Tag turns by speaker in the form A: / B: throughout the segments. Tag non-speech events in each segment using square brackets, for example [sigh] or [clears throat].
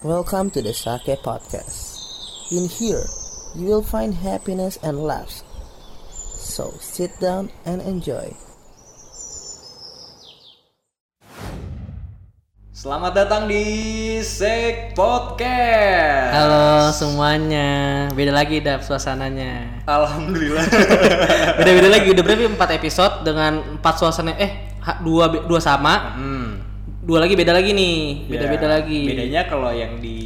A: Welcome to the Sake Podcast. In here, you will find happiness and laughs. So sit down and enjoy.
B: Selamat datang di Sek Podcast.
C: Halo semuanya, beda lagi dap
B: [laughs]
C: suasananya. [laughs]
B: Alhamdulillah.
C: Beda-beda lagi udah berarti empat episode dengan empat suasana eh ha- dua be- dua sama,
B: hmm.
C: dua lagi beda lagi nih, beda-beda
B: Ya,
C: lagi.
B: Bedanya kalau yang di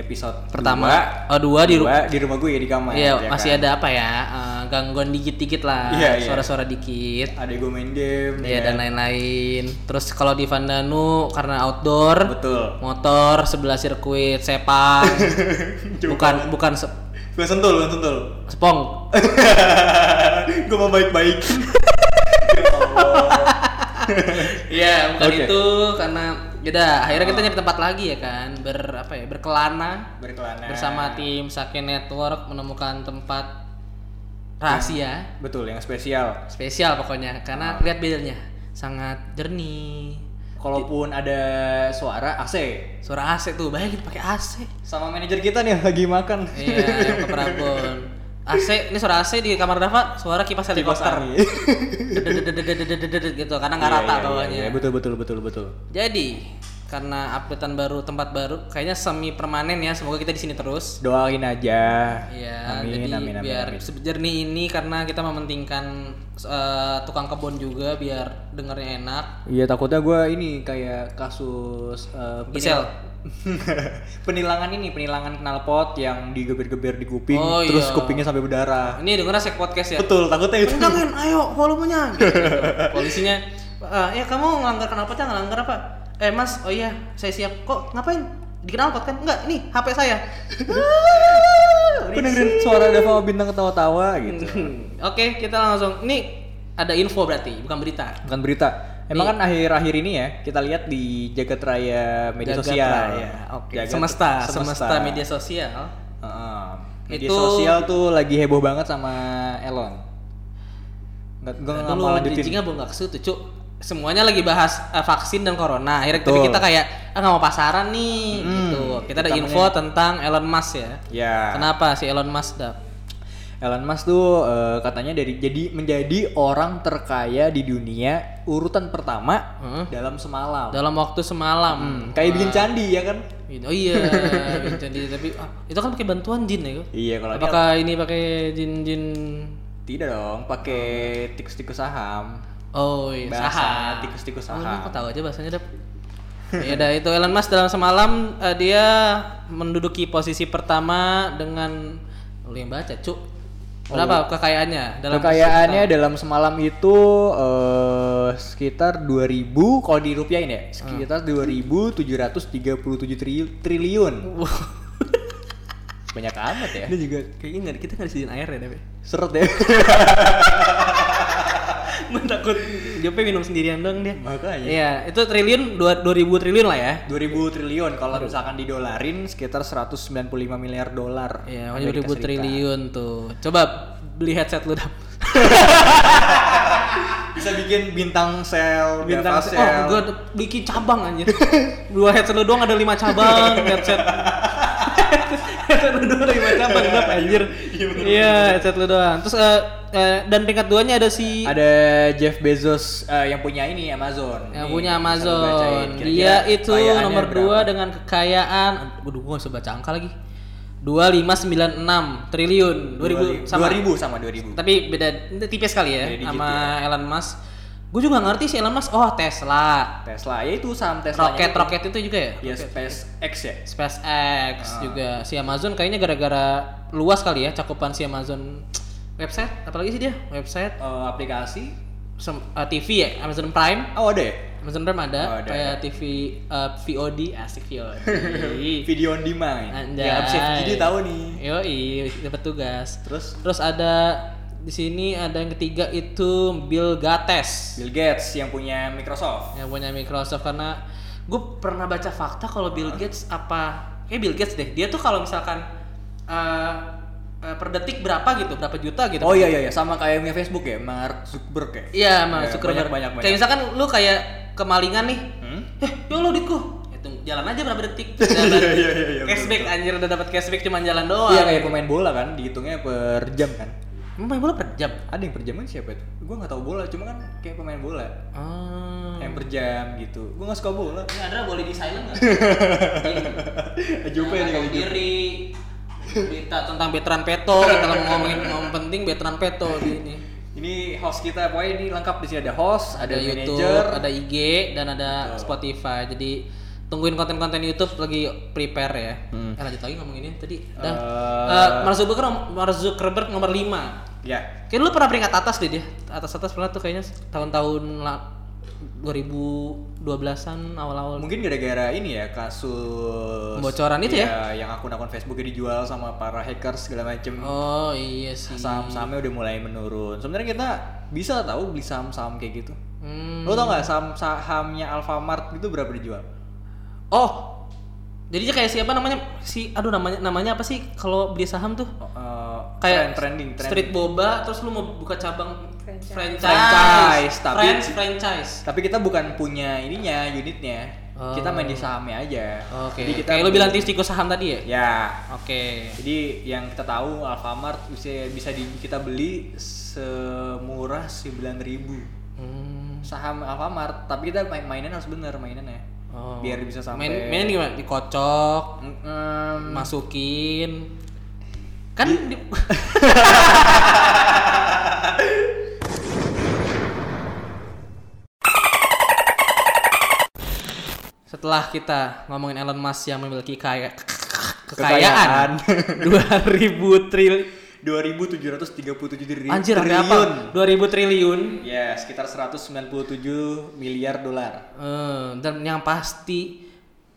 B: episode
C: Pertama, oh
B: dua,
C: dua di
B: di,
C: rumah.
B: di rumah gue ya di kamar.
C: Iya,
B: ya
C: masih
B: kan?
C: ada apa ya? eh, gangguan dikit-dikit lah,
B: Iya, iya.
C: suara-suara dikit.
B: Ada gue main game.
C: Iya
B: ya
C: dan
B: kan?
C: lain-lain. Terus kalau di Vandanu karena outdoor,
B: Betul.
C: motor sebelah sirkuit
B: [laughs]
C: Sepang, bukan bukan se-
B: Gue sentul, gue sentul. [laughs]
C: Sepong.
B: gue mau
C: [laughs]
B: baik-baik.
C: Iya, bukan
B: Oke.
C: itu karena beda. Akhirnya kita nyari tempat lagi ya kan, ber apa ya,
B: Nah.
C: berkelana
B: Berkelana.
C: bersama tim Sake Network menemukan tempat
B: Hmm.
C: rahasia
B: Betul, yang spesial.
C: spesial pokoknya karena
B: Hmm.
C: lihat bedanya sangat jernih.
B: Kalaupun
C: Iya.
B: ada suara AC
C: Suara AC tuh, bayangin pakai AC.
B: sama manajer kita nih yang lagi makan.
C: Iya, yang ke Prabon. AC, ini suara AC di kamar Dava, suara kipas
B: Kipas
C: helikopter.
B: angin.
C: Dedededededededededed gitu karena nggak
B: Iya,
C: rata
B: iya, iya,
C: bawahnya.
B: iya, betul betul betul betul.
C: Jadi karena updatean baru tempat baru kayaknya semi permanen ya semoga kita di sini terus.
B: Doain aja.
C: Iya,
B: amin,
C: jadi
B: amin, amin,
C: biar
B: amin.
C: sejernih ini karena kita mementingkan eh, tukang kebun juga biar dengernya enak.
B: Iya takutnya gue ini kayak kasus eh, penil-
C: Gisel.
B: [laughs] penilangan ini penilangan knalpot yang digeber-geber di kuping
C: Oh,
B: terus
C: iya.
B: kupingnya sampai berdarah.
C: Ini dengernya sek podcast ya.
B: Betul takutnya itu.
C: Jangan, ayo volumenya. Gitu. [laughs] Polisinya, "Eh, ya kamu ngelanggar kenapa Cang? Ngelanggar apa? Eh mas, oh iya, saya siap. Kok ngapain? Dikenal pot kan? Enggak, ini HP saya. [laughs]
B: Aku dengerin suara Dava bintang ketawa-tawa gitu.
C: Oke, kita langsung. Ini ada info berarti, bukan berita.
B: Bukan berita. Emang kan akhir-akhir ini ya kita lihat di jagat raya media
C: Jagat
B: sosial.
C: Raya. Oke.
B: Jagat-
C: Semesta, semesta, media sosial.
B: Heeh. media
C: Itu-
B: sosial tuh lagi heboh banget sama Elon. Nggak, gue nggak
C: Nah, Dulu
B: mau lanjutin.
C: bridgingnya belum nggak ke situ, cuk. Semuanya lagi bahas eh, vaksin dan corona. Akhirnya
B: Betul.
C: tapi
B: Hmm,
C: kita kayak ah nggak mau pasaran nih,
B: Mm-mm.
C: gitu. Kita ada
B: Utamanya-
C: info tentang Elon Musk ya.
B: Ya.
C: Kenapa si Elon Musk dap?
B: Elon Musk tuh eh, katanya dari jadi menjadi orang terkaya di dunia urutan pertama
C: Heeh.
B: dalam semalam.
C: Dalam waktu semalam.
B: Hmm, kayak bikin candi ya kan?
C: Oh iya, [laughs] jadi tapi ah, itu kan pakai bantuan jin ya.
B: Iya kalau dia
C: Apakah ini pakai jin-jin?
B: tidak dong, pakai tikus-tikus saham.
C: Oh iya,
B: Bahasanya
C: saham.
B: tikus-tikus
C: Oh, ini
B: saham.
C: aku tahu aja bahasanya dap. [laughs] ya dah itu Elon Musk dalam semalam eh, dia menduduki posisi pertama dengan lu yang baca cuk berapa kekayaannya dalam [laughs]
B: Kekayaannya dalam semalam itu eh, sekitar 2000 kalau dirupiahin ya,
C: Hmm.
B: sekitar 2737 tri- triliun.
C: Wow.
B: Banyak amat ya.
C: Eh, ini juga kayaknya nggak- kita nggak disediain air ya [laughs] tapi
B: Seret ya.
C: takut Jope minum sendirian dong dia
B: Makanya.
C: iya itu triliun dua dua ribu triliun lah ya
B: 2000 triliun kalau misalkan didolarin sekitar 195 miliar dolar.
C: Iya,
B: Amerika
C: dua ribu
B: Serikat.
C: triliun tuh coba beli headset lu dap
B: Bisa bikin bintang sel,
C: bintang
B: Dava sel.
C: oh gue bikin cabang anjir dua headset lu doang ada lima cabang
B: [laughs]
C: headset headset lu doang ada lima cabang Dap, anjir iya headset lu doang terus eh, eh, dan peringkat duanya ada si
B: Ada Jeff Bezos eh, yang punya ini Amazon.
C: yang
B: Nih,
C: punya
B: Iya, bisa lu bacain.
C: Amazon
B: Kira-kira
C: dia itu
B: kekayaannya
C: nomor
B: berapa?
C: dua dengan kekayaan aduh gue usah baca angka lagi 2596 triliun 2000 sama
B: 2000 sama 2000.
C: tapi beda tipis sekali ya
B: Beda dikit
C: sama Elon Musk gue juga nggak ngerti si Elon Musk oh Tesla
B: Tesla ya itu saham Tesla.
C: roket roket itu juga ya
B: Ya SpaceX ya.
C: SpaceX
B: Ah.
C: juga si Amazon kayaknya gara-gara luas kali ya cakupan si Amazon website apalagi sih dia website
B: Eh, aplikasi.
C: sem- eh, TV ya Amazon Prime
B: Oh ada ya?
C: Amazon Prime ada,
B: Oh, ada.
C: kayak TV eh, VOD asik VOD
B: [laughs] Video on demand.
C: Iya. Anjay.
B: Ya abis FGD tahu nih.
C: yoi dapat tugas
B: Terus
C: terus ada di sini ada yang ketiga itu Bill Gates
B: Bill Gates yang punya Microsoft.
C: yang punya Microsoft karena gue pernah baca fakta kalau Bill Gates apa kayak Bill Gates deh dia tuh kalau misalkan eh, eh, per detik berapa gitu berapa juta gitu
B: Oh iya iya iya sama kayak punya Facebook ya, Mark Zuckerberg ya.
C: iya mas
B: Iya,
C: Zuckerberg.
B: banyak, banyak,
C: kayak
B: banyak.
C: misalkan lu kayak kemalingan nih
B: Hmm?
C: eh ya Allah duitku ya hitung jalan aja berapa
B: [laughs]
C: detik terus
D: Iya,
C: dapat
D: iya, iya, iya,
C: cashback anjir udah dapat cashback cuman jalan doang
B: Iya kayak pemain bola kan, dihitungnya per jam kan.
C: Emang main bola per jam
B: Ada yang per jam kan siapa itu? Gue nggak tahu bola, cuma kan kayak pemain bola
C: ah
B: yang per jam gitu. Gue nggak suka bola. [laughs]
C: ini ada boleh di silent nggak
B: Jupe nih
C: Jangan
B: kalau gitu.
C: tahu
B: Jupe.
C: diri berita tentang veteran peto kita mau ngomongin ngomong penting veteran peto di ini
B: Ini host kita, pokoknya ini lengkap di sini ada host, ada,
C: ada YouTube,
B: manager,
C: ada IG, dan ada Spotify. Jadi tungguin konten-konten YouTube lagi prepare ya. Eh, lanjut lagi ngomongin ini tadi. Dah.
B: Hmm. Eh.
C: Eh, Mark Zuckerberg, Mark Zuckerberg nomor 5.
B: ya.
C: Kayaknya lu pernah peringkat atas deh dia. Atas-atas pernah tuh kayaknya tahun-tahun la- 2012-an awal-awal.
B: Mungkin gara-gara ini ya kasus
C: Kebocoran itu ya?
B: Iya, yang akun-akun Facebooknya dijual sama para hackers segala macem.
C: Oh iya sih.
B: Nah, Saham-sahamnya udah mulai menurun. Sebenarnya kita bisa tahu beli saham-saham kayak gitu.
C: Hmm.
B: Lo tau nggak saham sahamnya Alfamart itu berapa dijual?
C: Oh. Jadi dia kayak siapa namanya? Si aduh namanya namanya apa sih kalau beli saham tuh?
B: Eh,
C: kayak
B: tren- trending, trending.
C: Oh, street boba terus lu mau buka cabang franchise
B: Franchise, tapi-
C: Friends, franchise
B: Tapi kita bukan punya ininya, unitnya.
C: Oh.
B: Kita main di sahamnya aja.
C: oke
B: Jadi kita
C: kayak lu
B: beli-
C: bilang tikus saham tadi ya
B: Ya.
C: oke
B: Jadi yang kita tahu Alfamart bisa bisa di, kita beli semurah 9.000
C: Hmm.
B: saham Alfamart, tapi kita main mainan harus bener mainannya.
C: Oh.
B: Biar bisa sampai
C: main main gimana dikocok
B: Mm, mm,
C: masukin kan di- setelah kita ngomongin Elon Musk yang memiliki kaya kekayaan, [laughs] 2000 triliun
B: 2.737 triliun.
C: anjir sampai apa 2000 triliun
B: Ya, sekitar 197 miliar dolar.
C: Eh, dan yang pasti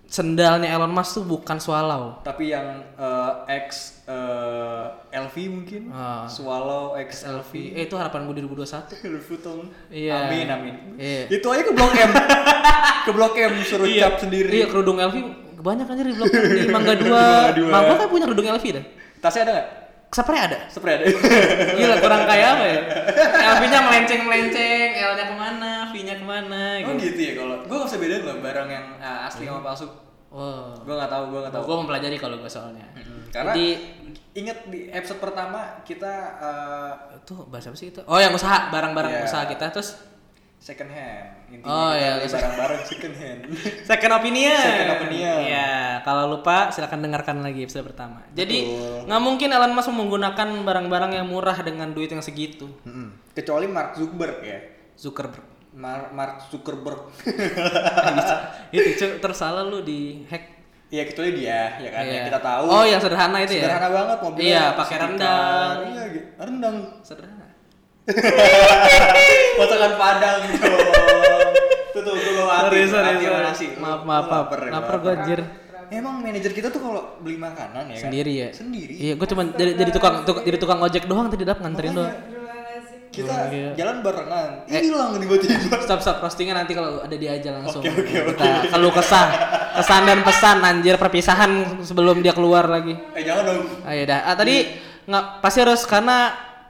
C: sendalnya Elon Musk tuh bukan swallow
B: Tapi yang eh, X eh, LV mungkin,
C: Ah.
B: Swallow X LV,
C: eh itu harapan gue 2021
B: Lufutong.
C: Iya.
B: Amin amin.
C: Iya.
B: Itu aja ke Blok M. [laughs] ke Blok M suruh cap sendiri.
C: Iya kerudung LV banyak anjir di blok M,
B: [laughs]
C: di Mangga 2.
B: Mangga Dua.
C: Mangga kan punya kerudung LV dah.
B: Tasnya ada nggak?
C: Seperti ada.
B: Spray
C: [laughs]
B: ada.
C: Gila kurang kaya apa ya? LV-nya melenceng-melenceng, L-nya kemana, V-nya kemana
B: oh
C: gitu.
B: gitu ya kalau. Gue nggak bisa bedain loh barang yang ah, asli
C: Hmm.
B: sama palsu.
C: Oh,
B: Gue nggak tahu, gue nggak tahu.
C: gue mempelajari kalau gue soalnya.
B: Karena
C: Jadi
B: inget di episode pertama kita eh,
C: itu bahasa apa sih itu? Oh, yang usaha, barang-barang
B: Iya.
C: usaha kita terus
B: second hand. kita
C: Oh, iya,
B: beli
C: terus-
B: barang-barang second hand. [laughs]
C: Second opinion.
B: Second opinion.
C: Iya, kalau lupa silakan dengarkan lagi episode pertama. Jadi
B: Betul.
C: nggak mungkin Elon Musk menggunakan barang-barang yang murah dengan duit yang segitu.
B: Mm-mm. Kecuali Mark Zuckerberg ya.
C: Zuckerberg.
B: Mar- Mark Zuckerberg. [laughs]
C: itu cu- terus salah lu di hack
B: Iya kecuali dia ya kan
C: Iya.
B: yang kita tahu.
C: oh yang sederhana itu ya
B: sederhana banget mobilnya.
C: iya pakai
B: sekitar-
C: rendang
B: Iya, gi- rendang.
C: sederhana
B: Masakan Padang
C: [laughs]
B: dong. Tuh tuh gue bawa hati,
C: Sorry, sorry,
B: hati sama
C: sorry.
B: nasi.
C: Maaf,
B: Lu-
C: maaf,
B: lu
C: maaf.
B: lapar ya,
C: Lapar
B: lapar.
C: gua, anjir.
B: Emang manajer kita tuh kalau beli makanan ya kan?
C: sendiri ya
B: Sendiri.
C: iya gue cuma jadi, jadi tukang tuk- jadi tukang ojek doang tadi dap nganterin doang
B: Kita
C: Oh, iya.
B: jalan barengan. Hilang tiba-tiba.
C: stop stop roastingnya nanti kalau ada dia aja langsung
B: Oke, oke, oke.
C: kita kalau kesah kesan dan pesan anjir perpisahan sebelum dia keluar lagi
B: [laughs] Eh jangan dong.
C: ayo dah ah, tadi nggak pasti harus karena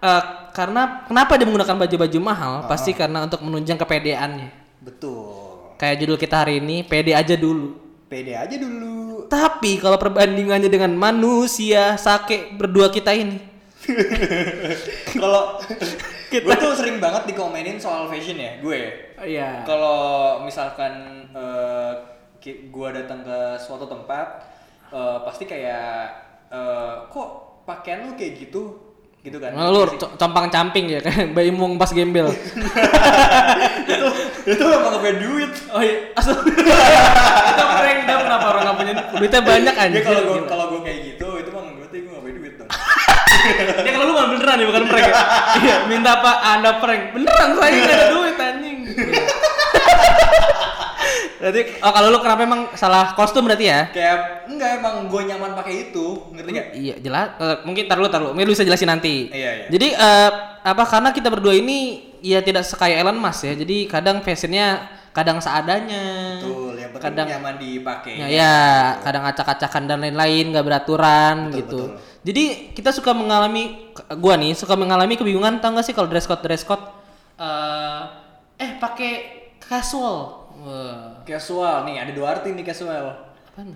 C: eh, karena kenapa dia menggunakan baju-baju
B: Ah,
C: mahal pasti karena untuk menunjang kepedeannya
B: Betul.
C: kayak judul kita hari ini pede aja dulu
B: Pede aja dulu.
C: Tapi kalau perbandingannya dengan manusia sake berdua kita ini,
B: Kalau gue tuh sering banget dikomenin soal fashion ya, gue.
C: iya.
B: Kalau misalkan eh, ki- gua datang ke suatu tempat eh, pasti kayak eh, kok pakaian lu kayak gitu gitu kan.
C: Lu co- compang camping ya kan, [laughs] bayi mung pas gembel.
B: itu itu emang gak punya duit.
C: oh iya, asal [laughs] kita prank dah kenapa orang nggak punya duitnya banyak
B: Ya
C: anjir.
B: kalau gua
C: gila.
B: kalau gua kayak gitu itu emang berarti gua gak punya duit dong.
C: ya kalau lu nggak beneran ya bukan [laughs] prank. ya. Iya, minta apa? Anda prank. Beneran saya nggak ada duit anjing. [laughs] Berarti oh kalau lu kenapa emang salah kostum berarti ya?
B: kayak enggak emang gua nyaman pakai itu, ngerti gak?
C: Iya jelas. Eh, mungkin taruh taruh. Mungkin lu bisa jelasin nanti.
B: Iya, iya.
C: Jadi eh, apa karena kita berdua ini ya tidak sekaya Elon Musk ya. Jadi kadang fashionnya kadang seadanya.
B: Betul, yang penting
C: kadang
B: nyaman dipakai.
C: ya, ya, kadang acak-acakan dan lain-lain nggak beraturan gitu. Jadi kita suka mengalami gua nih suka mengalami kebingungan tau nggak sih kalau dress code dress code eh, eh pakai casual. Wah.
B: Casual nih, ada dua arti nih casual.
C: Apaan?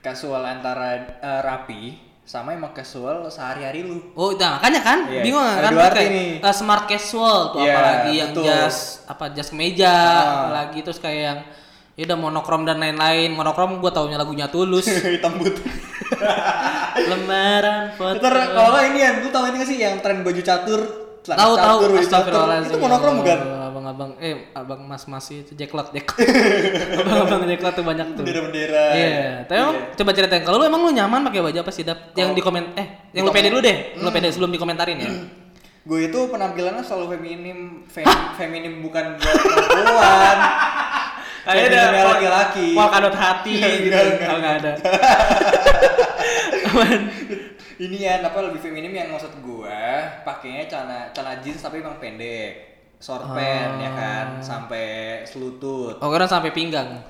B: Casual antara eh, rapi sama emang casual sehari-hari lu.
C: Oh, nah, makanya kan
B: Iya.
C: bingung
B: Ada
C: kan
B: dua arti
C: Kayak,
B: nih.
C: eh, smart casual tuh
B: Iya,
C: apalagi yang
B: betul. Ah.
C: jas apa jas kemeja apalagi terus kayak yang ya udah monokrom dan lain-lain. Monokrom gua taunya lagunya
B: [laughs]
C: Tulus.
B: [laughs] Hitam putih.
C: Lembaran foto.
B: Ntar kalau nggak ini ya, lu tahu ini gak sih yang tren baju catur? celana
C: Tahu tahu
B: catur, baju catur.
C: astagfirullahaladzim.
B: Itu monokrom
C: Ya
B: bukan?
C: Allah, Abang-abang eh abang mas-mas itu jeklot jeklot. [laughs] Abang-abang jeklot tuh banyak tuh.
B: Bendera-bendera.
C: Iya, tapi emang coba ceritain kalau lu emang lu nyaman pakai baju apa sih Dap? Yang di komen eh yang lu pede dulu
B: Hmm.
C: deh, lu pede sebelum dikomentarin
B: [clears throat]
C: ya.
B: Gue itu penampilannya selalu feminim, fe- feminim bukan buat perempuan.
C: Kayak
B: Feminim yang laki-laki.
C: Wah, kadot hati gitu.
B: Enggak, enggak.
C: Oh, enggak ada. Aman.
B: Ini ya, apa lebih feminim yang maksud gue pakainya celana celana jeans tapi emang pendek, short pant ya kan, sampai selutut.
C: Oh, karena sampai
B: [laughs]
C: pinggang.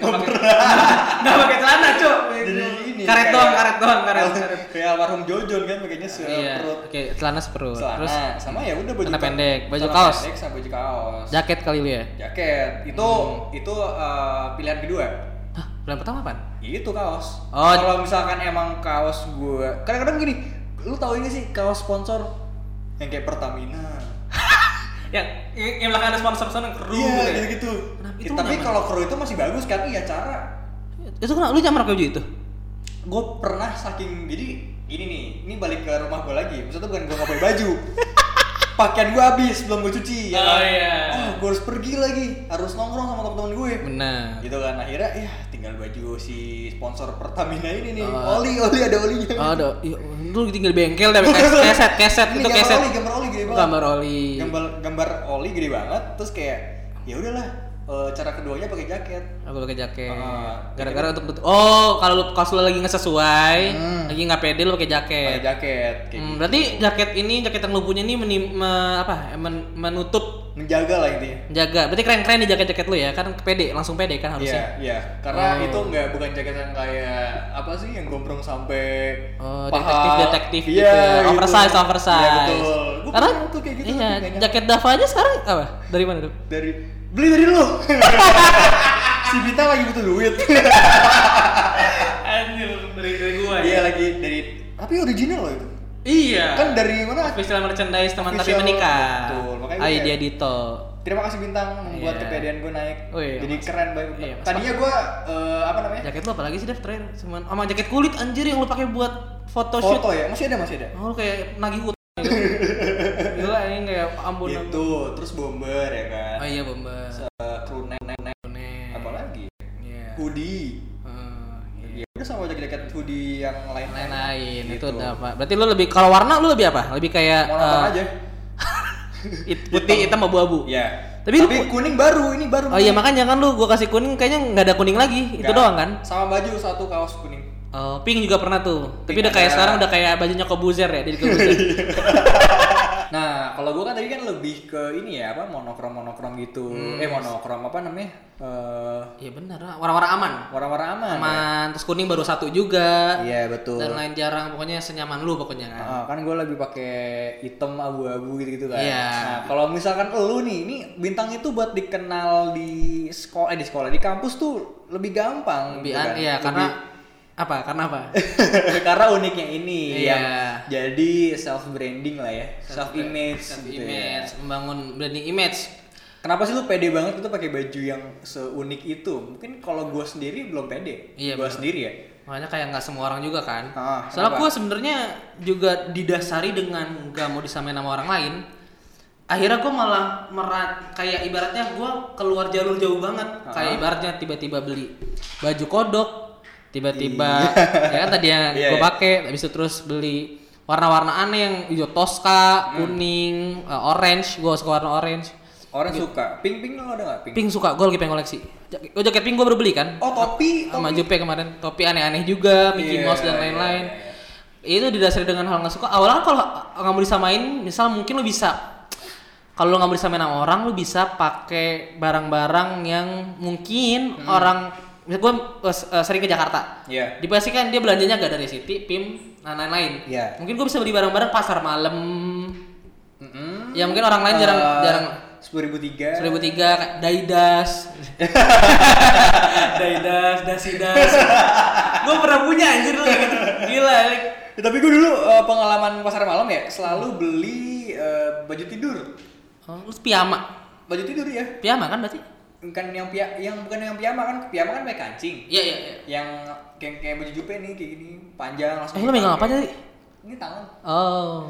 B: Enggak pakai celana, Cuk. Jadi ini.
C: Karet
B: kayak-
C: doang, karet doang, karet, karet.
B: [laughs] Kayak almarhum Jojon kan pakainya
C: Iya.
B: seperut
C: Oke, celana seperut.
B: celana
C: Terus
B: sama ya udah baju
C: celana
B: ka-
C: pendek, baju
B: celana
C: kaos.
B: pendek sama baju kaos.
C: jaket kali lu ya.
B: Jaket. Itu
C: Hmm.
B: itu eh, pilihan kedua.
C: Hah, bulan pertama apaan?
B: itu kaos
C: Oh.
B: kalau misalkan emang kaos gue kadang-kadang gini lu tau ini sih kaos sponsor yang kayak Pertamina
C: Yang Ya, yang yang belakang ada sponsor sponsor yang keruh
B: iya gitu
C: gitu. ya.
B: gitu
C: Kenapa itu
B: tapi
C: nyaman?
B: kalau kru itu masih bagus kan iya cara
C: ya. Itu kenapa lu nyaman pakai baju itu?
B: gue pernah saking jadi ini nih ini balik ke rumah gue lagi maksudnya bukan gue nggak pakai
C: [laughs]
B: baju pakaian gue habis belum gue cuci ya
C: Oh,
B: kan?
C: iya.
B: oh, gue harus pergi lagi harus nongkrong sama teman-teman gue
C: Benar.
B: gitu kan akhirnya ya tinggal baju si sponsor Pertamina ini nih
C: Oh.
B: oli oli ada olinya
C: Ada, ya, lu tinggal di bengkel deh, kes-
B: [laughs]
C: keset, keset,
B: Ini
C: itu
B: gambar
C: keset.
B: oli, gambar oli gede banget.
C: Gambar oli.
B: Gambar gambar oli gede banget, terus kayak ya udahlah eh, cara keduanya pakai jaket. Eh,
C: Aku pakai Oh, jaket.
B: Heeh.
C: Gara-gara untuk bet- Oh, kalau lu kalau lu lagi nggak sesuai,
B: Hmm.
C: lagi nggak pede lu pakai jaket.
B: Pakai jaket kayak
C: Hmm,
B: gitu.
C: berarti jaket ini jaket yang lu punya ini menim, me- apa? men- menutup
B: menjaga lah intinya.
C: jaga. Berarti keren-keren nih jaket-jaket lu ya, kan pede, langsung pede
B: Iya,
C: kan harusnya.
B: iya. Karena
C: Oh.
B: itu nggak bukan jaket yang kayak apa sih yang gombrong sampai
C: Oh,
B: paha.
C: detektif-detektif
B: Iya,
C: gitu ya. Oversize, oversize.
B: Iya, betul. Gua
C: Karena
B: punya tuh kayak gitu
C: iya,
B: tapi kayaknya.
C: jaket Dava aja sekarang apa? Dari mana, Dap?
B: dari beli dari lu. [laughs] si Bita lagi butuh
C: [laughs]
B: duit.
C: Anjir, dari dari gua ya?
B: Iya lagi dari tapi original loh itu.
C: Iya.
B: Kan dari mana?
C: official merchandise teman tapi
B: Official,
C: menikah.
B: betul. Makanya gua
C: Idea
B: kayak-
C: Dito.
B: Terima kasih bintang membuat
C: Iya.
B: kepedean gue naik.
C: Oh iya,
B: Jadi
C: Mas.
B: keren banget.
C: Iya, Mas.
B: Tadinya gue eh, apa namanya?
C: Jaket lu apalagi sih, Dev? Terakhir cuman sama jaket kulit anjir yang lu pakai buat photoshoot.
B: Foto ya, masih ada masih ada.
C: Oh, lu kayak nagih utang gitu. [laughs] Gila ini kayak ampun.
B: Itu Gitu. terus bomber ya kan.
C: Oh iya, Bomba.
B: Eh, crew neck neck neck
C: Nih.
B: apa lagi?
C: Iya.
B: Hoodie.
C: Eh,
B: Ya
C: iya.
B: udah sama jaket-jaket hoodie yang lain-lain.
C: Lain-lain itu
B: Gitu.
C: udah apa? Berarti lu lebih kalau warna lu lebih apa? Lebih kayak
B: Monoton
C: eh,
B: aja.
C: it- putih, hitam, abu-abu.
B: Iya. Tapi,
C: Tapi lu-
B: kuning baru, ini baru.
C: Oh iya makanya kan lu gua kasih kuning kayaknya nggak ada kuning lagi. Itu
B: Nggak.
C: doang kan?
B: Sama baju satu kaos kuning.
C: Oh, pink juga pernah tuh. Tapi
B: Pink
C: udah kayak
B: ada.
C: sekarang udah kayak bajunya Kobuzer ya, jadi
B: [laughs]
C: Kobuzer.
B: Nah, kalau gue kan tadi kan lebih ke ini ya apa monokrom monokrom gitu.
C: Hmm.
B: Eh monokrom apa namanya? Eh
C: Iya benar, warna-warna aman.
B: warna-warna aman. ya?
C: Aman, terus kuning baru satu juga.
B: Iya betul.
C: Dan lain jarang, pokoknya senyaman lu pokoknya kan.
B: Ah, kan gue lebih pakai hitam abu-abu gitu gitu kan.
C: Iya.
B: Nah, kalau misalkan lu nih, ini bintang itu buat dikenal di sekolah eh, di sekolah di kampus tuh lebih gampang.
C: Lebih
B: gitu
C: an-
B: kan.
C: iya karena apa? Karena
B: [laughs]
C: apa?
B: Lebih- karena uniknya ini
C: Iya.
B: yang jadi self branding lah ya, self image gitu
C: Kan image,
B: ya.
C: membangun branding image.
B: Kenapa sih lu pede banget itu pakai baju yang seunik itu? Mungkin kalau gue sendiri belum pede.
C: Iya,
B: Gue
C: bener.
B: sendiri ya.
C: Makanya kayak nggak semua orang juga kan.
B: Ah, kenapa?
C: Soalnya gue sebenarnya juga didasari dengan nggak mau disamain sama orang lain. Akhirnya gue malah merat kayak ibaratnya gue keluar jalur jauh banget.
B: Ah.
C: Kayak ibaratnya tiba-tiba beli baju kodok, tiba-tiba ya kan tadi yang
B: [laughs] Iya,
C: gue
B: iya.
C: pakai, habis itu terus beli warna-warna aneh yang hijau
B: Hmm.
C: toska, kuning, eh, orange. Gue suka warna orange.
B: Orang suka. Pink pink lo ada nggak pink?
C: Pink suka, gue lagi pengen koleksi. Jak- Oh, jaket pink gue baru beli kan?
B: Oh topi.
C: sama Jupe kemarin topi aneh-aneh juga Mickey
B: Iya,
C: Mouse dan
B: iya,
C: lain-lain
B: iya,
C: itu didasari dengan hal nggak suka awalnya kalau nggak mau disamain misal mungkin lo bisa kalau lo nggak mau disamain sama orang lo bisa pakai barang-barang yang mungkin orang misal gue eh, sering ke Jakarta
B: Hmm. Iya.
C: dipastikan dia belanjanya gak dari City, Pim, dan lain-lain
B: Iya.
C: mungkin gue bisa beli barang-barang pasar malam
B: Mm-mm.
C: ya mungkin orang lain jarang
B: Eh,
C: jarang
B: sepuluh ribu tiga
C: 1003 Daidas [laughs] Daidas Dasidas gue pernah punya anjir dulu kayak gitu. gila like.
B: tapi gue dulu eh, pengalaman pasar malam ya selalu beli eh, baju tidur
C: oh, lu piyama
B: baju tidur ya
C: piyama kan berarti
B: bukan yang pia yang bukan yang piyama kan piyama kan pakai kancing
C: iya iya iya
B: yang kayak kayak baju jupe nih kayak gini panjang langsung
C: eh lu megang apa aja sih
B: ini tangan
C: oh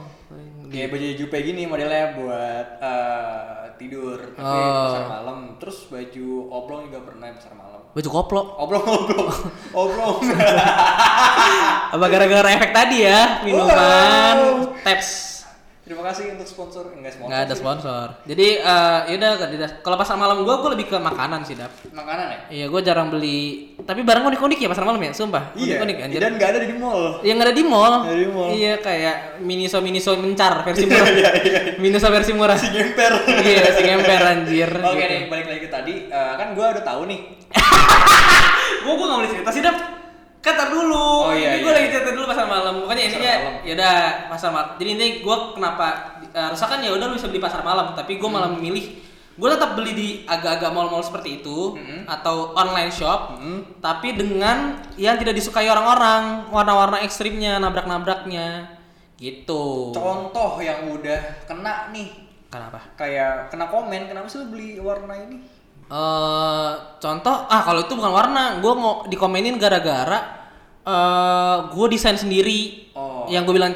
B: kayak baju jupe gini modelnya buat eh, tidur tapi
C: Oh.
B: pasar malam terus baju oblong juga pernah pasar malam
C: baju koplo
B: oblong [laughs] oblong oblong [laughs]
C: apa gara-gara efek tadi ya minuman taps
B: terima kasih untuk sponsor enggak sponsor
C: nggak ada sponsor jadi eh, yaudah Daidas. kalau pasar malam gue gue lebih ke makanan sih dap
B: makanan ya
C: iya gue jarang beli tapi barang unik-unik ya pasar malam ya sumpah
B: iya
C: unik-unik anjir
B: dan nggak ada di mall [laughs]
C: Yang ada di mall.
B: Ada di mall.
C: Iya kayak Miniso Miniso mencar versi [laughs] murah.
B: Iya,
C: Miniso versi murah.
B: si gemper
C: Iya, si ngemper anjir. Gitu.
B: oke nih balik lagi ke tadi Eh, kan gue udah tahu nih
C: Gua gua enggak boleh cerita sih, Dap. Kata dulu.
B: Oh, iya,
C: Ini gua
B: iya.
C: lagi cerita dulu pasar malam. Pokoknya
B: Pasar
C: intinya
B: malam.
C: ya udah pasar malam. Jadi ini gua kenapa eh, harusnya kan ya udah lu bisa beli pasar malam, tapi gua malah memilih gua tetap beli di agak-agak mall-mall seperti itu
B: Mm-mm.
C: atau online shop, tapi dengan yang tidak disukai orang-orang, warna-warna ekstrimnya, nabrak-nabraknya, gitu.
B: contoh yang udah kena nih
C: Kenapa?
B: kayak kena komen kenapa sih lu beli warna ini
C: eh contoh ah kalau itu bukan warna gue mau dikomenin gara-gara eh gue desain sendiri
B: Oh.
C: yang gue bilang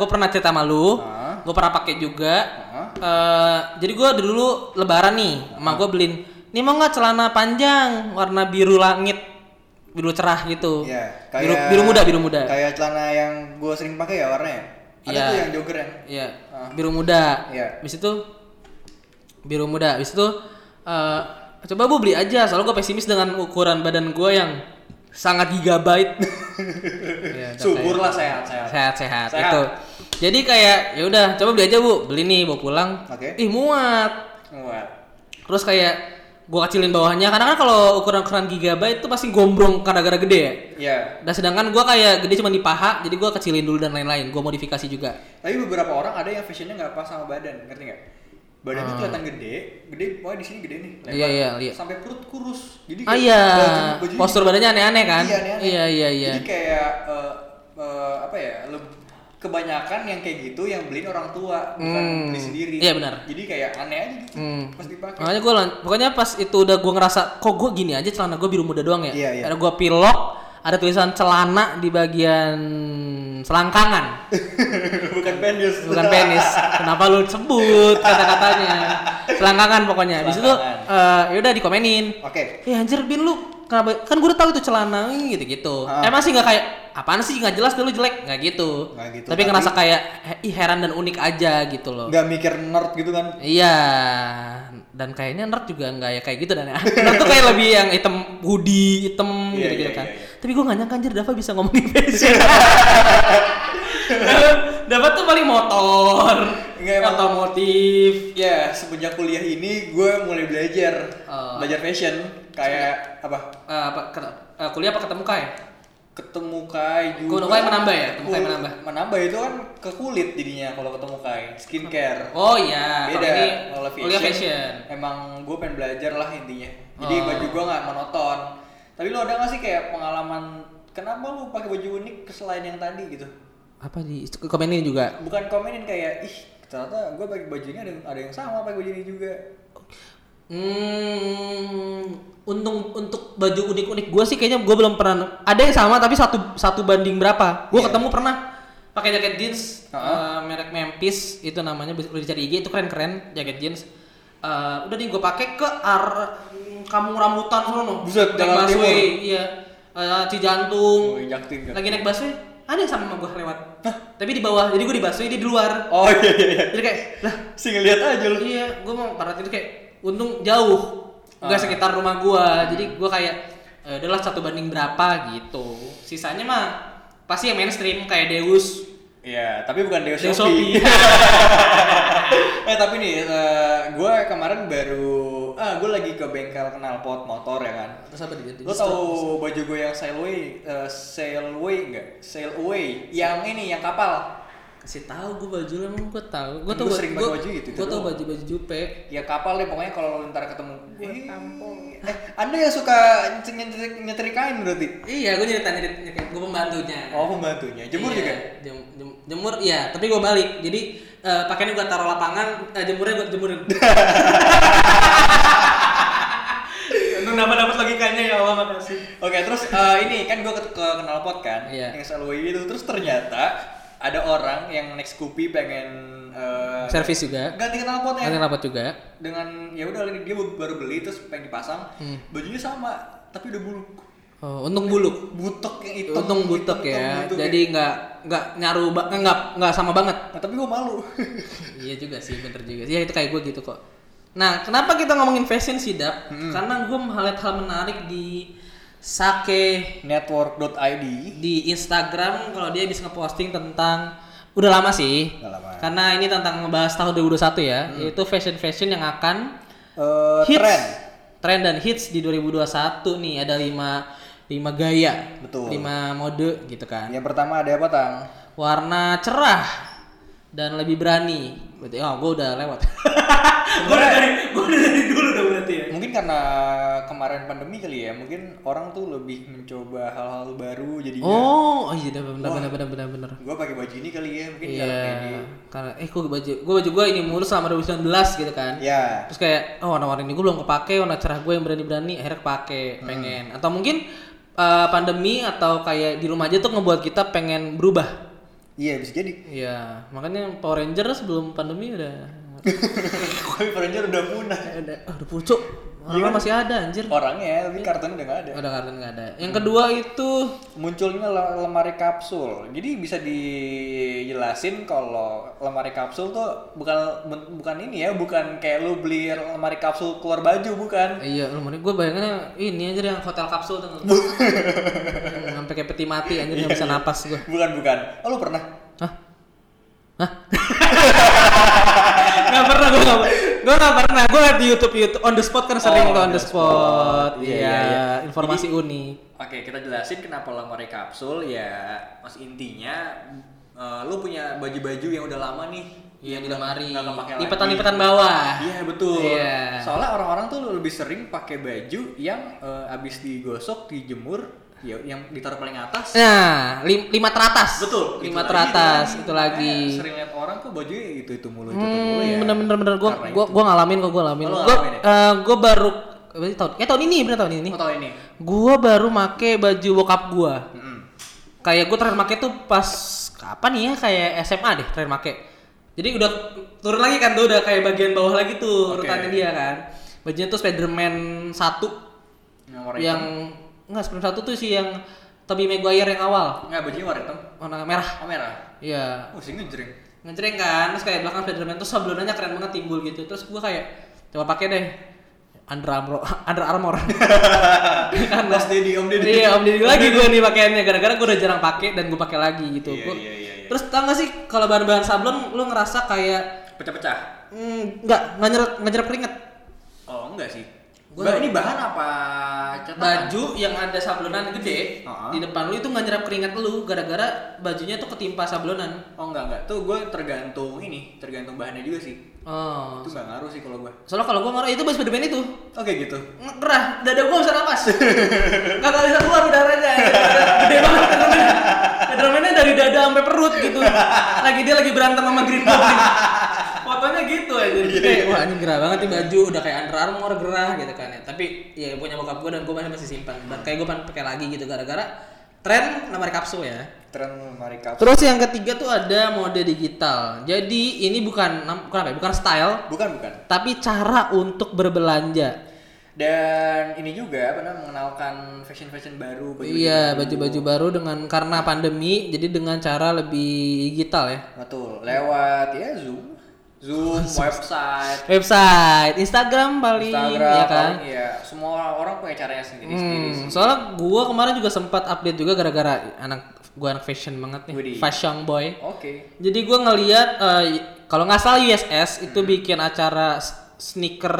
C: gue pernah cerita sama lu
B: Ah.
C: gue pernah pakai juga
B: Hah?
C: eh jadi gue dulu lebaran nih sama gue beliin nih mau nggak celana panjang warna biru langit biru cerah gitu
B: Iya,
C: biru biru muda biru muda
B: Kayak celana yang gue sering pakai ya warnanya. Ada
C: Iya.
B: tuh yang jogger yang.
C: Iya,
B: Ah.
C: biru muda.
B: Iya.
C: Habis itu biru muda. Habis itu eh, coba bu beli aja. Soalnya gue pesimis dengan ukuran badan gue yang sangat
B: [laughs]
C: gigabyte. Iya, udah
B: Subur lah sehat sehat.
C: kayak Sehat-sehat
B: Sehat.
C: itu. Jadi kayak ya udah coba beli aja bu. Beli nih bawa pulang.
B: Oke.
C: Ih muat.
B: Muat.
C: Terus kayak gue kecilin bawahnya karena kan kalau ukuran-ukuran gigabyte itu pasti gombrong gara-gara gede ya.
B: Iya.
C: Dan sedangkan gue kayak gede cuma di paha, jadi gue kecilin dulu dan lain-lain. Gue modifikasi juga.
B: Tapi beberapa orang ada yang fashionnya nggak pas sama badan, ngerti nggak? Badannya kelihatan gede, gede, pokoknya di sini gede nih. lebar.
C: Ah. Iya, iya, iya.
B: Sampai perut kurus. Jadi
C: Ah
B: kayak
C: iya,
B: baju- bajunya-
C: postur badannya aneh-aneh kan?
B: Iya, aneh-aneh.
C: Iya, iya, iya.
B: Jadi kayak eh, eh, apa ya? leb- kebanyakan yang kayak gitu yang beliin orang tua bukan
C: Hmm.
B: beli sendiri.
C: Iya, benar.
B: Jadi kayak aneh aja gitu.
C: Hmm.
B: Pas dipakai.
C: Makanya gue, pokoknya pas itu udah gue ngerasa, kok gue gini aja celana gue biru muda doang ya?
B: Iya, iya.
C: Ada gue pilok, ada tulisan celana di bagian selangkangan,
B: bukan pendius.
C: [laughs] bukan
B: [laughs]
C: [laughs] penis. Kenapa lu sebut kata-katanya? Selangkangan pokoknya. Habis itu, eh, yaudah dikomenin.
B: Oke.
C: Eh anjir Bin lu kenapa kan gue udah tahu itu celana ih, gitu-gitu.
B: Ah.
C: Eh masih nggak kayak apaan sih nggak jelas dulu jelek nggak gitu.
B: Nggak gitu,
C: Tapi
B: tapi-
C: ngerasa kayak "He- ih heran dan unik aja gitu loh.
B: nggak mikir nerd gitu kan
C: Iya, dan kayaknya nerd juga nggak ya [laughs] kayak gitu dan nerd tuh kayak lebih yang item hoodie, item
B: Iya,
C: gitu-gitu
B: iya,
C: kan.
B: iya, iya.
C: Tapi gue nggak nyangka anjir Dava bisa ngomongin
B: [laughs]
C: fashion. Dava tuh paling motor,
B: Nggak, emang-
C: otomotif.
B: ya semenjak kuliah ini gue mulai belajar
C: Oh.
B: belajar fashion kayak apa
C: Eh, apa, ke- eh, kuliah apa ketemu kai?
B: ketemu kai juga
C: Ketemu Kai menambah ya? Ketemu Kai
B: Kul-
C: menambah.
B: menambah itu kan ke kulit jadinya kalau ketemu kai skincare
C: Oh iya,
B: beda
C: kalau ini
B: kalau
C: kuliah fashion.
B: emang gue pengen belajar lah intinya jadi
C: Oh.
B: baju gue nggak monoton tapi lo ada nggak sih kayak pengalaman kenapa lu pakai baju unik selain yang tadi gitu
C: Apa di komenin juga?
B: bukan komenin kayak ih ternyata gue pakai bajunya ada, ada yang sama pakai baju ini juga
C: Hmm, untung untuk baju unik-unik gue sih kayaknya gue belum pernah. Ada yang sama tapi satu satu banding berapa? Gue
B: Iya.
C: ketemu pernah pakai jaket jeans
B: Heeh.
C: eh, merek Memphis itu namanya bisa boleh dicari IG itu keren-keren jaket jeans. Eh, udah nih gue pakai ke arah kamu rambutan sono.
B: Buset,
C: Naik
B: jalan
C: busway,
B: timur.
C: Iya. Eh, Cijantung.
B: Oh, injak-injak.
C: Lagi naik busway, ada yang sama sama gue lewat. Tapi di bawah, jadi gue di busway dia di
B: [laughs]
C: luar.
B: [laughs] oh iya iya iya
C: Jadi kayak, lah
B: sih ngeliat aja lu
C: Iya, gue mau parat itu kayak untung jauh,
B: Ah.
C: nggak sekitar rumah gue, jadi gue kayak eh, adalah satu banding berapa gitu. Sisanya mah pasti yang mainstream kayak Deus,
B: Iya, tapi bukan Deus
C: Deus
B: Shopee.
C: Shopee.
B: [laughs] eh tapi nih, gue kemarin baru, ah gue lagi ke bengkel knalpot motor ya kan.
C: Terus apa dia?
B: Lo tau baju gue yang sailway, eh, sailway nggak? Sailaway, yang ini yang kapal.
C: Kasih tahu gue baju lu emang gue tahu. Gue
B: Lu
C: tau
B: sering pakai baju gitu, itu, itu
C: Gue tau
B: doang.
C: baju baju jupe.
B: ya kapal deh pokoknya kalau lo ntar ketemu eh, eh, anda yang suka nyetrikain nyetrikain berarti
C: Iya, gue nyerit nyerit. Gue pembantunya.
B: oh pembantunya jemur
C: Iya,
B: juga
C: jem- jem- jemur iya, tapi gue balik. Jadi eh, pakaiannya gue taruh lapangan, eh, jemurnya gue [laughs] jemurin. Lu nambah dapat logikanya ya Allah makasih.
B: Oke, terus eh, ini kan gue ke, ke knalpot kan,
C: Iya.
B: yang selalu itu. Terus ternyata ada orang yang next kupi pengen eh,
C: Servis juga.
B: ganti knalpotnya
C: Ada rapat juga.
B: dengan ya udah dia baru beli terus pengen dipasang,
C: Hmm.
B: bajunya sama tapi udah buluk,
C: Oh, untung buluk.
B: butek yang hitam.
C: Untung butek
B: hitam,
C: ya.
B: butek.
C: Jadi nggak nggak nyaru ba- nggak nggak sama banget.
B: Nah, tapi gue malu. [laughs]
C: iya juga sih, bener juga. sih. Ya itu kayak gue gitu kok. Nah, kenapa kita ngomongin fashion sih, Dap? Karena gue melihat hal menarik di sake
B: Network.id
C: di Instagram kalau dia bisa ngeposting tentang udah lama sih.
B: Udah lama.
C: Karena ini tentang ngebahas tahun 2021 ya, yaitu fashion-fashion yang akan
B: Eh,
C: hits.
B: tren
C: Tren dan hits di 2021 nih ada lima lima gaya.
B: Betul.
C: Lima mode gitu kan.
B: yang pertama ada apa tang?
C: Warna cerah dan lebih berani. Berarti oh, gue udah lewat. gue udah dari [laughs] gua udah dari dulu udah berarti ya.
B: Mungkin karena kemarin pandemi kali ya, mungkin orang tuh lebih mencoba hal-hal baru jadinya.
C: Oh, oh iya benar benar benar benar benar.
B: gue pakai baju ini kali ya mungkin
C: Iya.
B: karena kayak di
C: Karena eh gue baju gue baju gue ini mulu selama 2019 gitu kan.
B: ya
C: terus kayak oh warna-warna ini gue belum kepake warna cerah gue yang berani-berani akhirnya kepake pengen atau mungkin eh, pandemi atau kayak di rumah aja tuh ngebuat kita pengen berubah
B: iya bisa jadi [laughs]
C: Iya, makanya Power Ranger sebelum pandemi udah
B: Kobe Ranger udah punah
C: udah oh, udah pucuk. Orang masih ada
B: Oh.
C: anjir.
B: orangnya tapi kartunya udah gak ada
C: Udah karena nggak ada. Yang kedua itu
B: munculnya le- lemari kapsul jadi bisa dijelasin kalau lemari kapsul tuh bukan ben- bukan ini ya bukan kayak lu beli lemari kapsul keluar baju bukan
C: iya lu gue bayangannya ini anjir yang hotel kapsul tuh. Hmm, Sampai kayak peti mati anjir nggak bisa napas gue.
B: bukan bukan oh lu pernah
C: Hah? Hah? [laughs] gak pernah gue gak, gue gak pernah gue liat di YouTube YouTube on the spot kan sering
B: Oh,
C: tuh
B: on
C: on the
B: the
C: spot,
B: spot.
C: Iya,
B: Iya, iya, iya.
C: informasi unik
B: Oke, kita jelasin kenapa lemari kapsul ya. Mas intinya eh, lu punya baju-baju yang udah lama nih
C: Iya,
B: yang
C: di
B: udah
C: lemari.
B: nggak kepake lagi.
C: Lipetan-lipetan bawah.
B: Iya, betul.
C: Iya.
B: Soalnya orang-orang tuh lebih sering pakai baju yang eh, abis digosok, dijemur, ya yang ditaruh paling atas.
C: nah lim- lima teratas
B: Betul,
C: lima
B: itu lagi, Iya,
C: teratas itu
B: Makanya
C: lagi
B: Sering lihat orang kok bajunya itu itu mulu, itu, itu mulu ya.
C: hmm, bener bener bener gue
B: Karena
C: gue gue ngalamin kok gue ngalamin
B: Oh, lu
C: gue
B: ngalamin ya?
C: gue baru eh, tahun ya tahun ini bener tahun ini
B: Oh, tahun ini.
C: gue baru make baju bokap gue
B: Mm-mm.
C: kayak gue terakhir make tuh pas kapan ya kayak SMA deh terakhir make jadi udah turun lagi kan tuh udah kayak bagian bawah lagi tuh
B: Oke.
C: urutannya dia kan bajunya tuh Spiderman 1
B: Yang warna
C: yang
B: hitam.
C: enggak Spiderman 1 tuh sih yang Tobey Maguire yang awal
B: Nggak, bajunya warna hitam.
C: warna merah
B: Oh, merah.
C: iya
B: Oh, sih ngejreng.
C: ngejreng kan terus kayak belakang Spiderman tuh sablonannya keren banget timbul gitu terus gue kayak coba pakai deh Under Armour [laughs] Under Armour [laughs] Karena-
B: Mas Deddy, Om Deddy.
C: Iya, Om Deddy lagi gue nih pakaiannya gara-gara gue udah jarang pakai dan gue pakai lagi gitu.
B: Iya,
C: Gua-
B: iya, iya, iya.
C: Terus tau gak sih kalau bahan-bahan sablon lu ngerasa kayak
B: Pecah-pecah.
C: mm, nggak nggak nyerap nggak nyerap keringet.
B: Oh enggak sih.
C: Gua
B: Ba-
C: tahu.
B: ini bahan apa cetakan?
C: Baju yang ada sablonan gede
B: Ah.
C: di depan lu itu nggak nyerap keringet lu gara-gara bajunya tuh ketimpa sablonan.
B: Oh enggak enggak. Tuh gue tergantung ini, tergantung bahannya juga sih.
C: Oh.
B: Itu enggak ngaruh sih kalau gue.
C: Soalnya kalau gue ngaruh itu baju Spiderman itu
B: Oke gitu.
C: ngerah dada gue bisa napas nggak bisa keluar udaranya gede banget Spiderman-nya. Spiderman-nya dari dada sampai perut gitu lagi dia lagi berantem sama Green Goblin fotonya gitu aja kayak wah ini gerah banget nih baju udah kayak Under Armour gerah gitu kan ya tapi ya punya bokap gue dan gue masih masih simpan dan kayak gue pengen pakai lagi gitu gara-gara tren nomor kapsul ya
B: Tren lemari kapsul.
C: terus yang ketiga tuh ada mode digital jadi ini bukan bukan apa ya, bukan style
B: Bukan bukan.
C: tapi cara untuk berbelanja
B: Dan ini juga apa namanya mengenalkan fashion-fashion baru baju
C: Iya, baju-baju baru dengan karena pandemi, jadi dengan cara lebih digital ya.
B: Betul. Lewat ya Zoom. Zoom,
C: [laughs]
B: website,
C: Website, Instagram paling
B: Instagram,
C: ya kan.
B: paling ya semua orang punya caranya sendiri-sendiri.
C: Hmm, soalnya gua kemarin juga sempat update juga gara-gara anak gua anak fashion banget
B: Widih.
C: nih, fashion boy.
B: Oke.
C: Jadi gua ngeliat eh, kalau nggak salah USS itu
B: Hmm.
C: bikin acara s- sneaker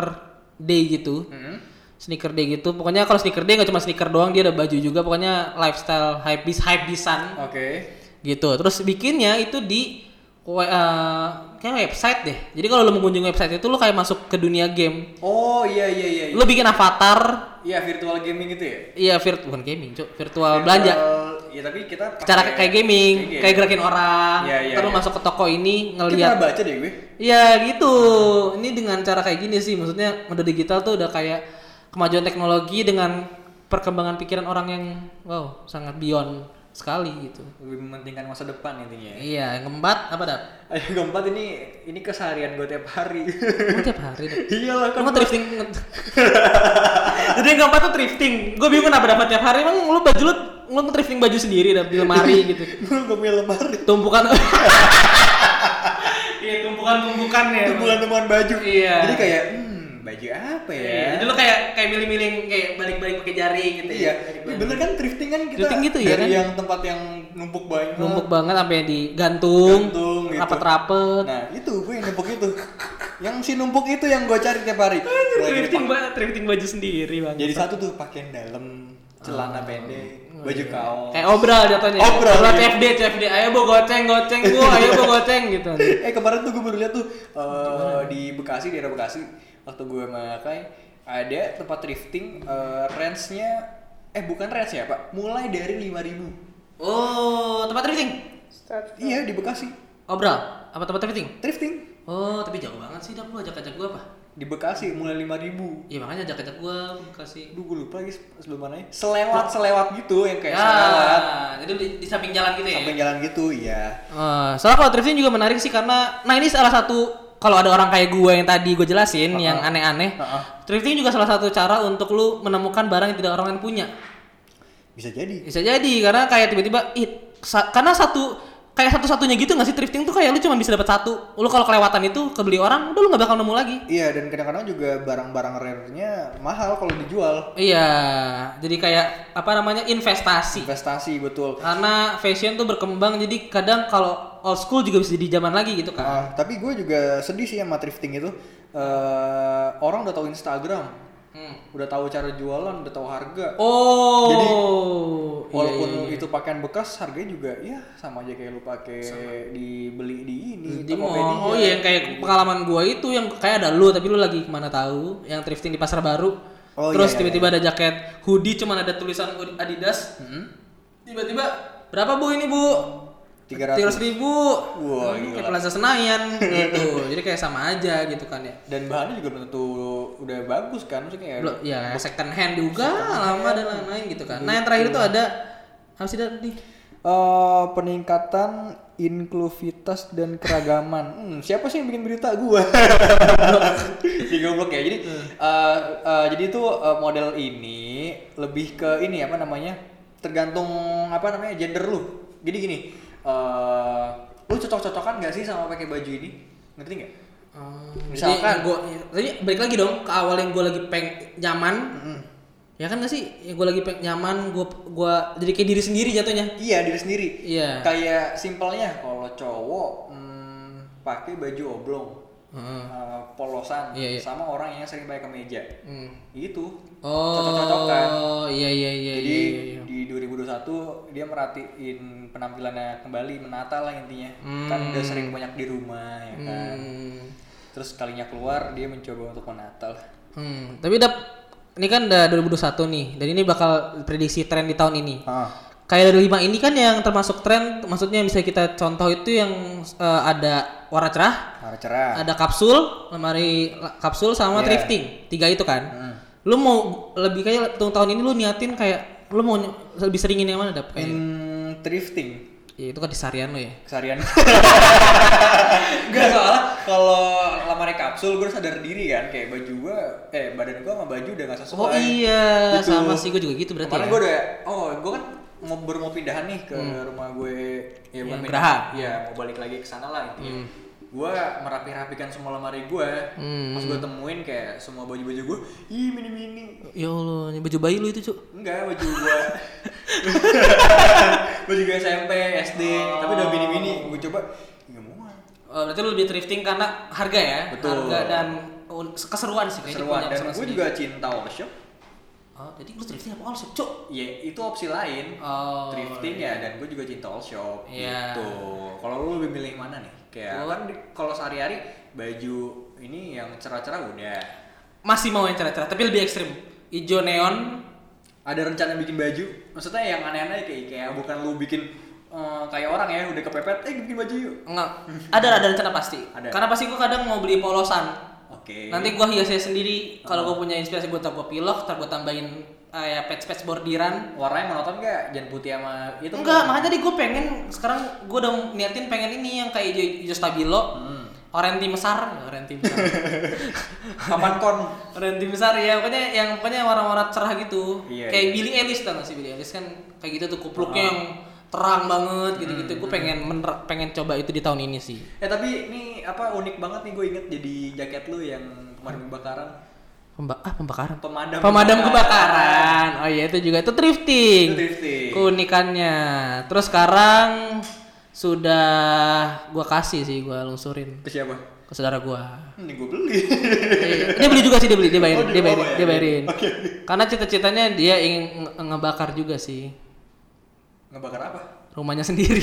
C: day gitu.
B: Hmm.
C: Sneaker day gitu. Pokoknya kalau sneaker day nggak cuma sneaker doang, dia ada baju juga. Pokoknya lifestyle hype bis hype bisan.
B: Oke.
C: gitu terus bikinnya itu di we- eh, kayak website deh. Jadi kalau lu mengunjungi website itu lu kayak masuk ke dunia game.
B: Oh iya iya iya. iya.
C: Lu bikin avatar,
B: Iya virtual gaming gitu ya.
C: iya virtual bukan gaming, cuk, virtual belanja.
B: Virtual- Iya tapi kita pakai-
C: Cara kayak gaming, kayak gerakin orang,
B: Iya, iya,
C: terus
B: iya.
C: masuk ke toko ini
B: Kita
C: ngelihat
B: baca deh gue.
C: Iya gitu. Ini dengan cara kayak gini sih, maksudnya mode digital tuh udah kayak kemajuan teknologi dengan perkembangan pikiran orang yang wow sangat beyond sekali gitu.
B: Lebih mementingkan masa depan intinya.
C: Iya, yang keempat apa dap?
B: Ayo keempat ini ini keseharian gue tiap hari. [laughs]
C: Kamu tiap hari dap.
B: Iyalah kan.
C: Kamu thrifting. [laughs] Jadi yang keempat tuh thrifting. Gue bingung kenapa dapat tiap hari. Emang lu baju lu lu thrifting baju sendiri dap di [laughs] lemari gitu.
B: Gue gak punya lemari.
C: Tumpukan. [laughs] Iya tumpukan-tumpukan ya.
B: Temuan-temuan baju.
C: Iya.
B: Jadi kayak hmm baju apa ya?
C: Iya, Jadi lu kayak kayak milih-milih kayak balik-balik pakai jari gitu
B: Iya,
C: ya.
B: bener kan thrifting kan kita
C: Thrifting gitu ya
B: dari
C: kan?
B: yang tempat yang numpuk banyak.
C: Numpuk banget sampai digantung,
B: Gantung, gitu.
C: rapet-rapet.
B: Nah itu gue yang numpuk itu. yang si numpuk itu yang gue cari tiap hari. Mulai dari
C: Nah, Thrifting, ba- thrifting baju sendiri bang.
B: Jadi satu tuh pakaian dalam, celana pendek,
C: Oh,
B: baju
C: iya.
B: kaos.
C: kayak obral jatuhnya.
B: Obral,
C: Obral
B: iya.
C: CFD, CFD. Ayo bo goceng, goceng bu, ayo bo goceng gitu.
B: [laughs] eh kemarin tuh gue baru lihat tuh eh, di Bekasi, daerah Bekasi, waktu gue makai ada tempat thrifting eh, range-nya eh bukan range ya pak, mulai dari 5000
C: [laughs] Oh, tempat thrifting?
B: Iya di Bekasi
C: Obral? Apa tempat thrifting?
B: thrifting
C: Oh, tapi jauh banget sih dap lu ajak-ajak gua apa?
B: di Bekasi mulai 5000
C: Ya makanya ajak-ajak gua kasih.
B: Aduh gue lupa lagi se- sebelum mana Selewat selewat gitu yang kayak
C: Ya,
B: selewat
C: jadi di, di samping jalan gitu ya.
B: sampai jalan gitu iya.
C: Eh, soalnya kalau thrifting juga menarik sih karena nah ini salah satu kalau ada orang kayak gue yang tadi gue jelasin yang aneh-aneh,
B: Uh-uh.
C: thrifting juga salah satu cara untuk lu menemukan barang yang tidak orang lain punya.
B: Bisa jadi.
C: Bisa jadi karena kayak tiba-tiba ih, sa- karena satu kayak satu-satunya gitu nggak sih thrifting tuh kayak lu cuma bisa dapat satu. Lu kalau kelewatan itu kebeli orang, udah lu nggak bakal nemu lagi.
B: Iya dan kadang-kadang juga barang-barang rare-nya mahal kalau dijual.
C: Iya, jadi kayak apa namanya investasi.
B: Investasi betul.
C: Karena fashion tuh berkembang jadi kadang kalau old school juga bisa jadi zaman lagi gitu kan.
B: Ah, tapi gue juga sedih sih sama thrifting itu. Eh, orang udah tahu Instagram,
C: Hmm.
B: udah tahu cara jualan, udah tahu harga.
C: Oh.
B: Jadi,
C: iya,
B: Walaupun
C: iya, iya.
B: itu pakaian bekas, harganya juga ya sama aja kayak lu pakai dibeli di ini
C: Di
B: Tokopedia.
C: mall. Oh iya yang kayak pengalaman gua itu yang kayak ada lu tapi lu lagi kemana tahu yang thrifting di pasar baru.
B: Oh, iya,
C: Terus
B: Hmm? iya,
C: tiba-tiba ada jaket hoodie cuman ada tulisan Adidas. Tiba-tiba berapa bu ini bu?
B: 300.
C: ribu.
B: Wah,
C: kayak Plaza Senayan gitu. Jadi kayak sama aja gitu kan ya.
B: Dan bahannya juga belum tentu udah bagus kan, maksudnya kayak
C: Belum, ya second hand juga lama dan lain-lain gitu kan. Nah yang terakhir itu ada apa sih tadi?
B: Eh, peningkatan inklusivitas dan keragaman. Hmm, siapa sih yang bikin berita [laughs] gua? Di goblok ya. Jadi eh, eh, jadi itu eh, model ini lebih ke ini apa namanya? Tergantung apa namanya gender lu. Jadi gini, eh, lu cocok-cocokan gak sih sama pakai baju ini? Ngerti nggak? Misalkan-
C: Oh, Misalkan gue, tapi balik lagi dong ke awal yang gue lagi peng nyaman, ya kan gak sih? Yang gue lagi peng nyaman, gue gua jadi kayak diri sendiri jatuhnya.
B: Iya diri sendiri.
C: Iya.
B: Kayak simpelnya kalau cowok hmm, pakai baju oblong,
C: Heeh.
B: eh, polosan,
C: Iya, iya.
B: sama orang yang sering pakai kemeja.
C: Hmm.
B: Itu cocok-cocokan.
C: Oh, iya iya iya.
B: Gitu. Jadi
C: iya, iya, iya.
B: di 2021 dia merhatiin penampilannya kembali menata lah intinya. Kan udah sering banyak di rumah ya kan.
C: Hmm.
B: Terus kalinya keluar dia mencoba untuk menata lah.
C: Hmm. Tapi dap, ini kan udah 2021 nih, dan ini bakal prediksi tren di tahun ini.
B: Ah.
C: Kayak dari lima ini kan yang termasuk tren, maksudnya yang bisa kita contoh itu yang eh, ada warna cerah,
B: Harus cerah.
C: ada kapsul, lemari la- kapsul sama
B: Iya.
C: thrifting. Tiga itu kan.
B: Hmm.
C: Lu mau lebih kayak tahun tahun ini lu niatin kayak lu mau ny- lebih seringin yang mana dap kayak.
B: Hmm, thrifting.
C: Ya, itu kan di seharian lu ya. [laughs]
B: kesarian Enggak soalnya kalau lamar kapsul gue sadar diri kan kayak baju gue eh badan gue sama baju udah gak sesuai.
C: Oh iya,
B: Gitu.
C: sama sih gue juga gitu berarti.
B: Kemarin
C: ya.
B: gue udah oh gue kan mau baru mau pindahan nih ke rumah gue ya bukan
C: Hmm. Yang Hmm.
B: pindahan.
C: Geraha.
B: Iya, mau balik lagi ke sana lah intinya. Gue merapi-rapikan semua lemari gue.
C: Hmm.
B: Pas gue temuin kayak semua baju-baju gue, ih mini-mini.
C: Ya Allah, ini baju bayi lu itu, Cuk.
B: Enggak, baju
C: [laughs]
B: gua. baju gua SMP, SD, tapi udah mini-mini. Gua coba enggak mau. ah.
C: Oh, berarti lu lebih thrifting karena harga ya,
B: Betul.
C: harga dan un- keseruan sih kayaknya
B: Seruan
C: punya
B: dan
C: keseruan
B: gua
C: sendiri.
B: juga cinta workshop.
C: Oh, jadi lu thrifting apa all shop, Cok?
B: Ya itu opsi lain.
C: Oh,
B: thrifting ya dan gue juga cinta all shop
C: Iya.
B: gitu. Kalau lu lebih milih mana nih? Kayak
C: Gua-
B: kan di- kalau sehari-hari baju ini yang cerah-cerah udah.
C: Masih mau yang cerah-cerah, tapi lebih ekstrim. Ijo neon,
B: Ada rencana bikin baju? Maksudnya yang aneh-aneh kayak kayak bukan lu bikin eh, kayak orang ya udah kepepet, eh bikin baju yuk.
C: enggak. Ada ada rencana pasti.
B: Ada.
C: Karena pasti gua kadang mau beli polosan.
B: Oke. Ah.
C: Nanti gua hiasnya sendiri. Kalau gua punya inspirasi buat gua pilok, ntar gua tambahin kayak patch-patch bordiran.
B: warnanya monoton nggak? Jangan putih sama itu.
C: Enggak, makanya tadi gue pengen sekarang gue udah niatin pengen ini yang kayak hijau, hijau stabilo,
B: Hmm.
C: oranye besar, oranye besar,
B: [laughs] Kapan kon?
C: oranye besar ya, pokoknya yang pokoknya yang warna-warna cerah gitu,
B: Iya,
C: kayak
B: iya.
C: Billy Ellis tau gak sih Billy Ellis kan kayak gitu tuh kupluknya yang terang banget gitu-gitu, gue
B: Hmm,
C: pengen mener- pengen coba itu di tahun ini sih.
B: Eh tapi ini apa unik banget nih gue inget jadi jaket lu yang
C: Hmm.
B: kemarin kebakaran.
C: Pemba ah pembakaran.
B: Pemadam
C: Pemadam
B: kebakaran.
C: kebakaran. Oh iya itu juga itu thrifting.
B: Itu thrifting.
C: Keunikannya. Terus sekarang sudah gua kasih sih gua lungsurin
B: Ke siapa? Hmm,
C: ke saudara gua.
B: Ini gue beli. [laughs]
C: Eh, dia beli juga sih dia beli dia
B: Oh,
C: bayarin
B: dia
C: dia bayarin
B: bawa ya?
C: dia bayarin
B: Oke.
C: karena cita-citanya dia ingin nge- ngebakar juga sih
B: Ngebakar apa?
C: rumahnya sendiri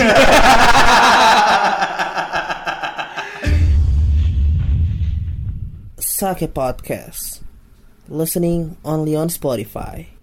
A: Sake Podcast. Listening only on Spotify.